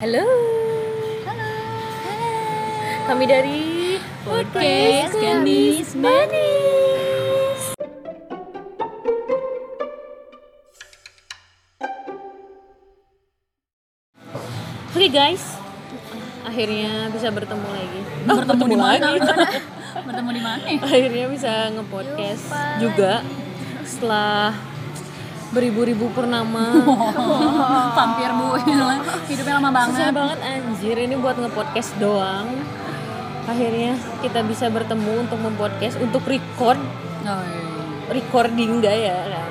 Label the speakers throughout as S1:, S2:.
S1: Halo. Kami dari
S2: Podcast Gadis
S1: Manis. Oke guys, akhirnya bisa bertemu lagi. Eh,
S2: bertemu di mana? bertemu di mana? ya?
S1: Akhirnya bisa ngepodcast juga setelah beribu-ribu purnama.
S2: Vampir bu, hidupnya lama banget.
S1: Susah banget anjir ini buat ngepodcast doang. Akhirnya kita bisa bertemu untuk mempodcast, untuk record,
S2: Oh, iya.
S1: recording gak ya kan?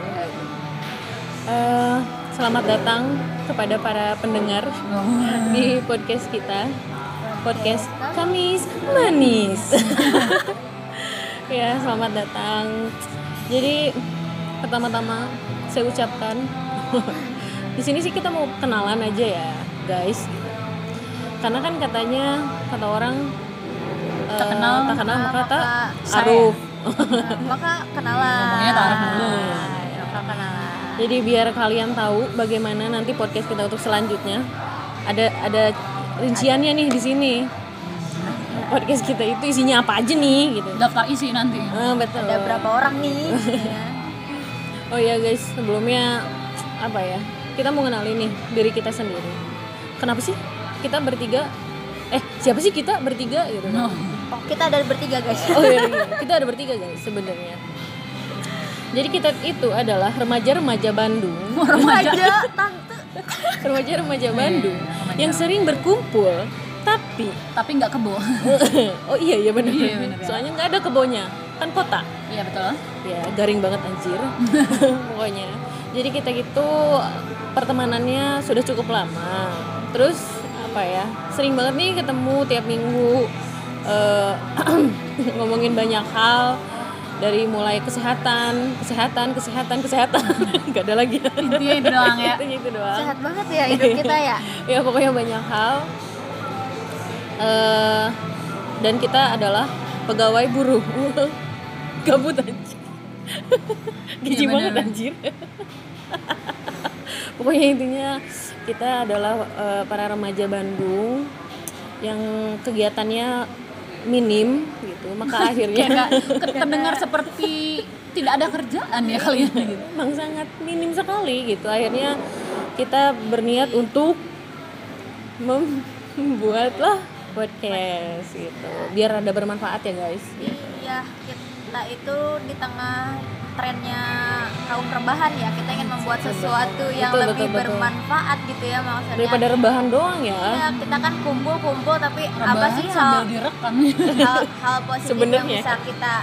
S1: Eh, selamat datang kepada para pendengar
S2: Oh.
S1: di podcast kita, podcast Kamis Manis. ya selamat datang. Jadi pertama-tama saya ucapkan di sini sih kita mau kenalan aja ya guys. Karena kan katanya kata orang eh,
S2: Tak kenal,
S1: tak kenal maka
S3: maka
S1: tak
S2: sayang.
S1: aruf.
S3: Nah, maka kenalan.
S2: Ngomongnya taruh dulu.
S3: Maka kenalan.
S1: Iya, Jadi biar kalian tahu bagaimana nanti podcast kita untuk selanjutnya ada ada rinciannya nih di sini. Podcast kita itu isinya apa aja nih gitu.
S2: Daftar isi nanti.
S1: Ah, betul.
S3: Ada berapa orang nih? ya.
S1: Oh ya guys, sebelumnya apa ya? Kita mau kenalin nih diri kita sendiri. Kenapa sih kita bertiga? Eh siapa sih kita bertiga gitu? kan?
S3: Oh, kita ada bertiga guys.
S1: Oh iya, iya. kita ada bertiga guys sebenarnya. Jadi kita itu adalah remaja-remaja Bandung.
S3: Remaja, tante.
S1: remaja-remaja Bandung
S2: remaja.
S1: yang sering berkumpul tapi
S2: Tapi nggak kebo.
S1: oh iya iya benar
S2: Iya, bener ya.
S1: soalnya nggak ada kebonya kan kota
S2: Iya betul.
S1: ya garing banget anjir pokoknya jadi kita gitu pertemanannya sudah cukup lama terus apa ya sering banget nih ketemu tiap minggu eh, ngomongin banyak hal dari mulai kesehatan kesehatan kesehatan kesehatan nggak ada lagi
S2: Intinya itu doang ya.
S1: itu gitu doang
S3: Sehat banget ya hidup kita ya.
S1: ya pokoknya banyak hal eh dan kita adalah pegawai buruh gabut anjir gaji
S2: Iya,
S1: banget
S2: bener.
S1: anjir pokoknya intinya kita adalah eh, para remaja Bandung yang kegiatannya minim gitu maka
S2: Kayak
S1: akhirnya
S2: nggak ke- terdengar seperti tidak ada kerjaan ya kalian gitu.
S1: memang sangat minim sekali gitu akhirnya kita berniat untuk membuatlah podcast gitu biar ada bermanfaat ya guys
S3: Iya, kita itu di tengah trennya kaum rebahan ya. Kita ingin membuat sesuatu yang
S1: Betul,
S3: lebih
S1: betul, betul.
S3: bermanfaat gitu ya maksudnya.
S1: daripada rebahan doang
S3: Iya,
S1: ya
S3: kita kan kumpul-kumpul tapi apa
S2: Rebahan
S3: sih
S2: sambil
S3: hal
S2: direkam.
S3: hal, hal positif
S1: Sebenarnya.
S3: yang bisa kita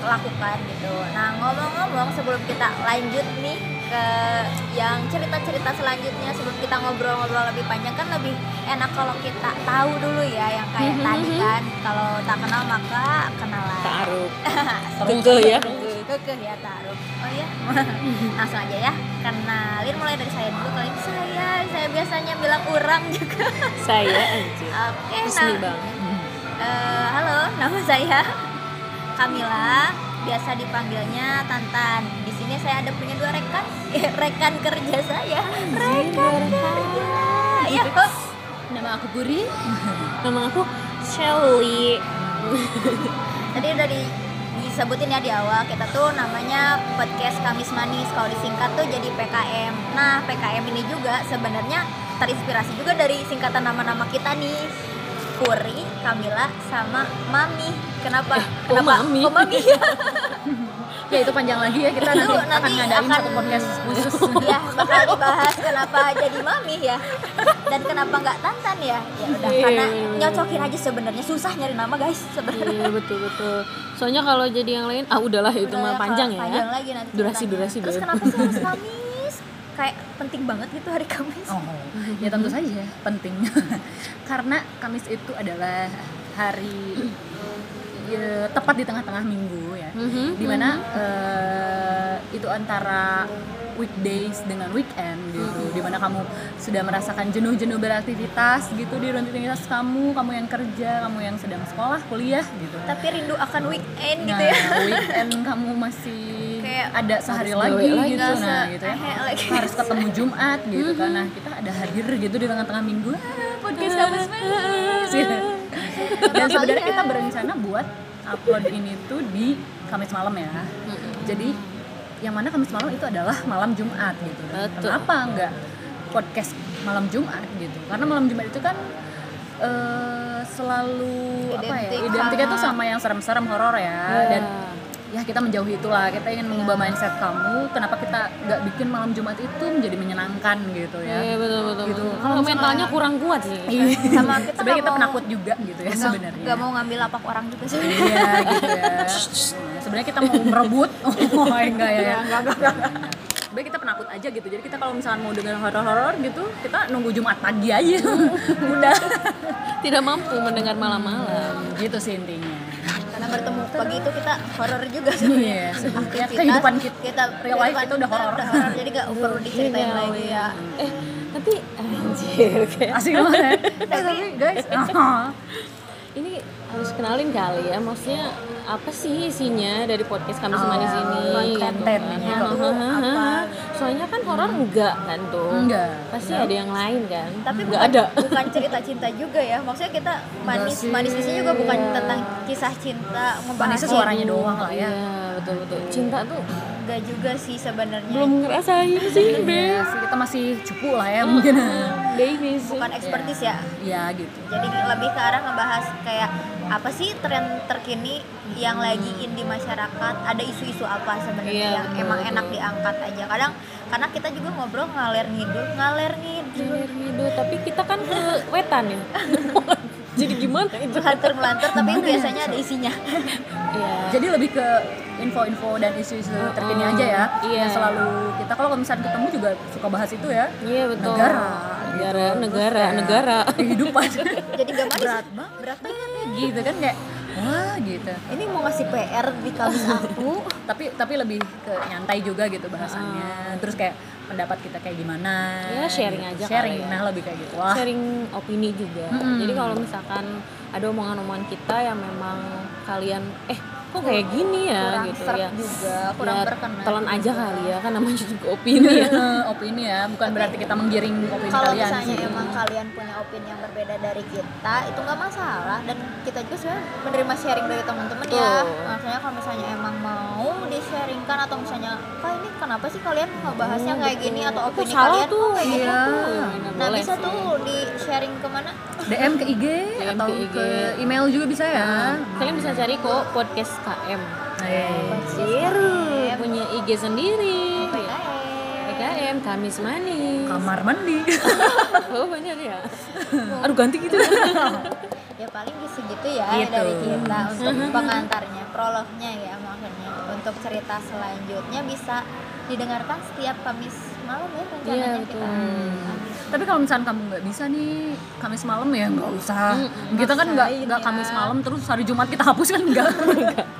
S3: lakukan gitu. Nah ngomong-ngomong sebelum kita lanjut nih ke yang cerita-cerita selanjutnya sebelum kita ngobrol-ngobrol lebih panjang kan lebih enak kalau kita tahu dulu ya yang kayak
S1: Mhm,
S3: tadi
S1: mhm.
S3: kan kalau tak kenal maka kenalan.
S1: taruh tentu ya
S3: Kekeh ya taruh. Oh ya, langsung aja ya. Kenalin mulai dari saya dulu kali ini. saya saya biasanya bilang orang juga.
S1: saya anjir
S3: Oke,
S1: Bismi
S3: nah
S1: banget
S3: Eh, halo, nama saya Kamila, biasa dipanggilnya Tantan. Di sini saya ada punya dua rekan, eh, rekan kerja saya. Rekan kerja. Ya,
S2: Nama aku Guri.
S1: nama aku Shelly
S3: tadi udah di- disebutin ya di awal kita tuh namanya podcast Kamis Manis kalau disingkat tuh jadi PKM. Nah, PKM ini juga sebenarnya terinspirasi juga dari singkatan nama-nama kita nih. Kuri, Kamila, sama Mami. Kenapa?
S2: Eh,
S1: kok
S3: Kenapa?
S1: Mami?
S3: Kok Mami?
S2: Ya itu panjang lagi ya kita
S3: Nanti-
S2: tuh akan
S3: nanti
S2: ngadain
S3: akan-
S2: satu podcast khusus.
S3: ya bakal dibahas kenapa jadi mami ya dan kenapa nggak tantan ya ya udah
S1: Iya,
S3: karena
S1: iya, iya.
S3: nyocokin aja sebenarnya susah nyari nama guys sebenarnya
S1: iya betul betul soalnya kalau jadi yang lain ah udahlah itu
S3: Udah,
S1: mah panjang ya
S3: panjang lagi nanti
S1: Durasi,
S3: ceritanya.
S1: durasi,
S3: terus
S1: Beb.
S3: kenapa sih harus Kamis kayak penting banget gitu hari Kamis
S2: Oh, ya tentu saja penting. Karena Kamis itu adalah hari ya, tepat di tengah-tengah minggu ya.
S1: Mhm,
S2: Dimana eh, itu antara weekdays dengan weekend gitu. Dimana kamu sudah merasakan jenuh-jenuh beraktivitas gitu di rutinitas kamu, kamu yang kerja, kamu yang sedang sekolah, kuliah gitu.
S3: tapi rindu akan weekend
S2: Nah,
S3: gitu ya
S2: weekend kamu masih
S3: Kayak
S2: ada sehari
S1: harus
S2: lagi
S1: gawe lagi.
S2: gitu
S3: Nggak
S2: nah
S3: se- eh,
S2: gitu ya.
S3: ehe lagi.
S2: Harus ketemu Jumat gitu kan. Nah, kita ada hadir gitu di tengah-tengah minggu. Ah, podcast
S3: Hmm.
S2: kampus manis
S3: Iya.
S2: Gitu. dan sebenarnya kita berencana buat upload ini tuh di Kamis malam ya jadi yang mana Kamis malam itu adalah malam Jumat gitu
S1: Betul.
S2: kenapa nggak podcast malam Jumat gitu karena malam Jumat itu kan eh, selalu apa ya
S3: Identik
S2: identiknya tuh
S3: sama- Iya.
S2: sama yang serem-serem horor ya dan
S1: Iya.
S2: ya kita menjauhi itulah kita ingin mengubah mindset kamu kenapa kita nggak bikin malam Jumat itu menjadi menyenangkan gitu ya
S1: Iya betul betul.
S2: Gitu.
S1: betul.
S2: Kalau
S1: Kalau mentalnya
S2: misalnya-
S1: kurang kuat sih.
S2: Iya.
S3: Sama kita
S2: sebenarnya
S3: nggak
S2: kita
S3: mau-
S2: penakut juga gitu ya sebenarnya
S3: nggak mau ngambil lapak orang juga sih
S2: iya gitu ya Nah, sebenarnya kita mau merebut oh enggak ya sebenarnya kita penakut aja gitu jadi kita kalau misalnya mau dengar horor-horor gitu kita nunggu Jumat pagi aja udah
S1: Tidak mampu mendengar malam-malam.
S2: gitu sih intinya
S3: karena bertemu pagi itu kita horor juga sih
S2: Iya, sih. Ya, kehidupan kita- real life
S3: kehidupan
S2: itu udah horor.
S3: jadi gak perlu diceritain
S1: Iya,
S3: lagi ya
S1: Eh tapi anjir kayak
S2: asik banget ya. Eh, tapi guys
S1: ini harus kenalin kali ya maksudnya apa sih isinya dari podcast kami
S2: Oh,
S1: Manis ini gitu kan.
S2: kontennya
S1: Hahaha.
S3: tuh apa?
S1: soalnya kan horor enggak kan tuh
S2: Enggak.
S1: pasti ada yang lain kan
S3: tapi
S1: enggak
S3: bukan,
S1: ada
S3: bukan cerita cinta juga ya maksudnya kita manis
S2: sih.
S3: manis di sini juga bukan tentang kisah cinta membahas
S2: Manisnya suaranya doang lah
S1: Iya
S2: ya
S1: betul betul cinta tuh
S3: Gak juga sih sebenarnya
S1: belum ngerasain sih
S2: Iya
S1: Beb
S2: sih, kita masih cupu lah ya mungkin
S1: Davis
S3: bukan ekspertis ya
S2: ya gitu
S3: jadi lebih ke arah ngebahas kayak apa sih tren terkini yang lagi in di masyarakat ada isu-isu apa sebenarnya
S1: Iya,
S3: yang
S1: betul,
S3: emang
S1: betul.
S3: enak diangkat aja kadang karena kita juga ngobrol ngalir ngidul ngalir ngidul
S1: tapi kita kan ke wetan nih jadi gimana itu
S3: melantur melantur tapi biasanya ada isinya
S1: Iya.
S2: jadi lebih ke info-info dan isu-isu terkini aja ya
S1: Iya.
S2: yang selalu kita kalau misalnya ketemu juga suka bahas itu ya
S1: Iya betul.
S2: negara
S1: negara,
S2: gitu.
S1: negara,
S2: Terus kayak
S1: negara.
S3: Iya.
S2: kehidupan
S3: jadi gak manis
S2: berat banget
S3: berat banget
S2: gitu kan kayak wah gitu
S3: ini mau ngasih PR di kampus aku
S1: Oh.
S2: tapi tapi lebih ke nyantai juga gitu bahasannya terus kayak pendapat kita kayak gimana
S1: Ya, Ah. sharing aja kali
S2: sharing
S1: ya.
S2: nah lebih kayak gitu wah
S1: Sharing opini juga.
S2: Mm-mm.
S1: Jadi kalau misalkan ada omongan-omongan kita yang memang kalian eh kok kayak gini ya
S3: kurang
S1: gitu
S3: serp
S1: ya.
S3: juga kurang
S1: Ya,
S3: berkenan Iya.
S1: telan aja kali ya kan namanya juga opini ya.
S2: opini ya bukan berarti kita menggiring opini
S3: kalau
S2: kalian
S3: misalnya
S2: sih.
S3: emang kalian punya opini yang berbeda dari kita itu nggak masalah dan kita juga sebenarnya menerima sharing dari teman-teman ya
S1: Betul.
S3: maksudnya kalau misalnya emang mau di sharingkan atau misalnya kak ini kenapa sih kalian ngebahasnya kayak gini atau
S1: Kok
S3: opini
S1: Hmm, salah
S3: kalian
S1: tuh.
S3: kok kayak gini
S2: Iya.
S1: tuh. Nah,
S3: nah
S1: boleh
S3: bisa
S1: sih.
S3: tuh di sharing kemana
S2: DM ke IG
S1: DM
S2: atau
S1: ke Ah. IG.
S2: ke email juga bisa ya
S1: Kalian bisa cari kok podcast KM.
S2: Nah, iya, iya.
S1: Seru. Punya IG sendiri.
S3: ya? PKM
S1: PKM, Kamis Manis.
S2: kamar mandi
S1: Oh banyak ya. Aduh ganti gitu.
S3: ya paling di segitu ya
S2: Gitu.
S3: dari kita untuk pengantarnya prolognya ya maksudnya untuk cerita selanjutnya bisa didengarkan setiap Kamis malam ya rencananya
S1: Iya,
S3: kita
S1: betul.
S2: tapi kalau misalnya kamu nggak bisa nih Kamis malam ya nggak usah kita kan nggak
S1: ya.
S2: nggak Kamis malam terus hari Jumat kita hapus kan nggak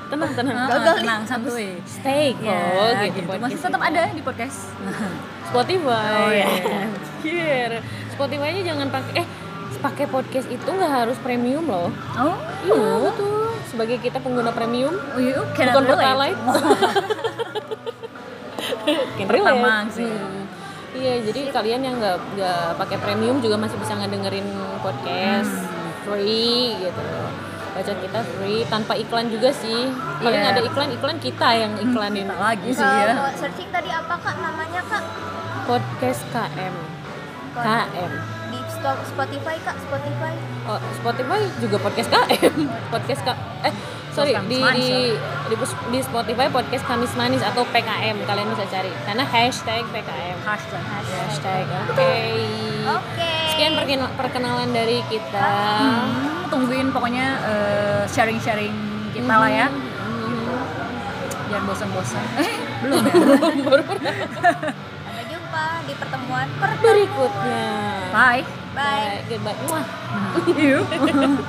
S1: tenang, tenang.
S2: gagal tenang santuy
S1: Stay kok
S2: Ya,
S1: gitu,
S2: gitu. masih
S1: podcast
S2: tetap ada di podcast
S1: Spotify.
S2: Oh, iya.
S1: Anjir. Spotify-nya jangan pakai eh pakai podcast itu nggak harus premium loh.
S2: oh
S1: Iya betul. Sebagai kita pengguna premium,
S2: Oh, you cannot
S1: bukan
S2: relate.
S1: pertalite. Can relate.
S2: Pertama sih.
S1: Hmm. Iya, jadi kalian yang nggak nggak pakai premium juga masih bisa ngedengerin podcast
S2: Hmm.
S1: free gitu. Baca kita free tanpa iklan juga sih. Paling
S2: Iya. Hmm.
S1: ada iklan iklan kita yang iklanin.
S2: Minta lagi sih ya.
S3: Eh, Kalau searching tadi apa kak namanya kak?
S1: Podcast KM. KM.
S3: Di Sto- Spotify kak, Spotify.
S1: Oh, Spotify juga podcast KM. Podcast K eh sorry
S2: Podcast
S1: di
S2: Manis,
S1: di, di di Spotify podcast Kamis Manis atau PKM kalian bisa cari karena hashtag PKM.
S2: Hashtag.
S1: Hashtag. Oke.
S3: Oke.
S1: Sekian perkena- perkenalan dari kita.
S2: Hmm, tungguin pokoknya eh, sharing-sharing kita lah ya.
S1: Hmm.
S2: Jangan bosan-bosan. Eh, belum ya.
S3: Sampai jumpa di pertemuan per.
S1: Berikutnya.
S2: Bye.
S1: Bye.
S3: Bye.
S1: Goodbye. Muah.
S2: You.